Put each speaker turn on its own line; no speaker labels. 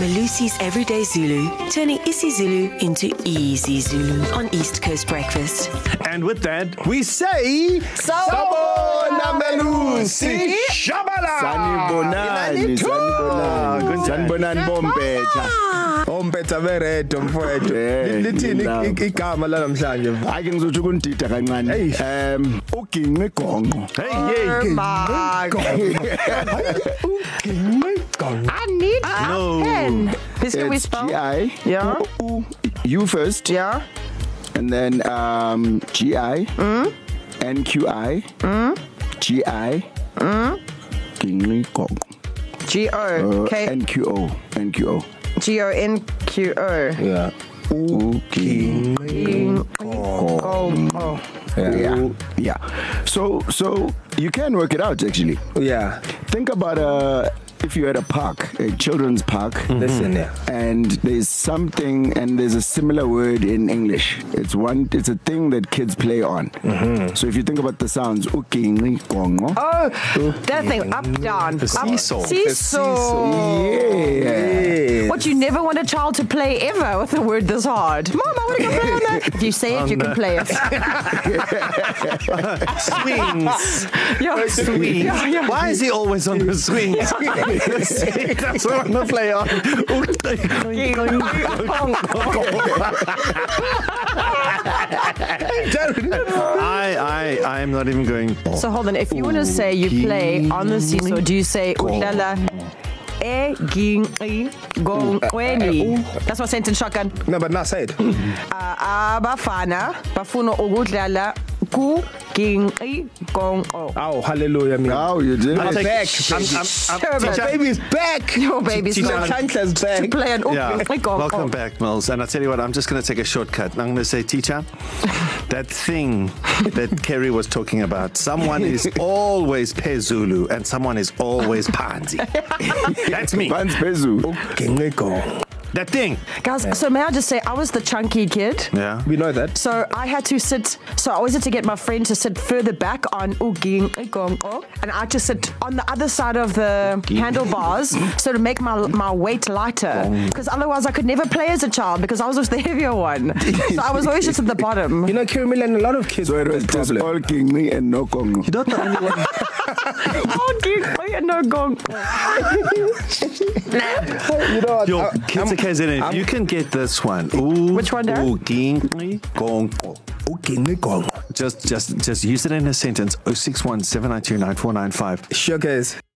Malusi's Everyday Zulu, turning isiZulu into easy Zulu on East Coast Breakfast.
And with that, we say
Sabona Melusi.
Shabala.
Sanibonani, sanibonani.
Ah, Good
Sanibonani bombetha.
ompetha beredo mfowethu
Eh,
lithini
ngilawo.
i- igama lanamhlanje
Hayi ke ngizothi ukunidida kancane.
Hey.
Um uginqe igonqo.
Hey, yay.
Pen. Please can we
It's
spell?
G I.
Yeah.
U, U first.
Yeah.
And then um, GI, mm? NQI, mm? GI, mm?
G O
uh,
K
NQO, NQO.
G O N Q O.
yeah
Uking.
Oh, oh.
Yeah. yeah. So, so you can work it out actually.
yeah
Think about uh, if you're at a park, a children's park,
listen yeah
and there's something and there's a similar word in English. It's one it's a thing that kids play on. Mm-hmm. So if you think about the sounds uginqi gonqo.
Oh, that thing up down.
The
up,
seesaw.
Seesaw.
Yeah.
What you never want a child to play ever with a word this hard. Mom, I want to go play on that. If you say it, you can play it.
Swings.
Yeah.
Swings.
Yeah, yeah.
Why is he always on the swings? That's what I'm going to play on. I, I, I am not even going.
So hold on. If you want to say you play on the seesaw, do you say eh, ulala? eh, That's my sentence shotgun.
no but not said
abafana bafuna ukudlala kuginqi gonqo
oh hallelujah me
Now you did
I'm
it.
back.
I'm, I'm, I'm,
Sure,
teacher,
baby.
baby's back
Your baby's
Teacher
not.
Chantler's
to
back
play an
Yeah.
uginqi
Welcome
gonqo
back, Mills. And I tell you what, I'm just going to take a shortcut. I'm going to say, teacher, that thing that Kerry was talking about, someone is always Pezulu and someone is always Panzi. That's me.
Pants Pezu.
Gingriko.
That thing.
guys so may i just say i was the chunky kid
Yeah.
we know that
so I had to sit. So I always had to get my friend to sit further back on uginqi gonqo, and I just sit on the other side of the handlebars, so to make my my weight lighter. Because otherwise, I could never play as a child because I was always the heavier one. So I was always just at the bottom.
you know Kiri Milan a lot of kids
So it
with
was
that
just
problem.
all ginqi and no gonqo.
Not the only one.
uginqi Oh, no gonqo.
you know
Yo,
I-
kids
I'm-
are KZN. If you can get this one. Ooh,
Which one, Darren?
ooh, ginqi gonqo.
Gingriko.
Oh Just, just, just use it in a sentence. 061 792 9495.
Sure, guys.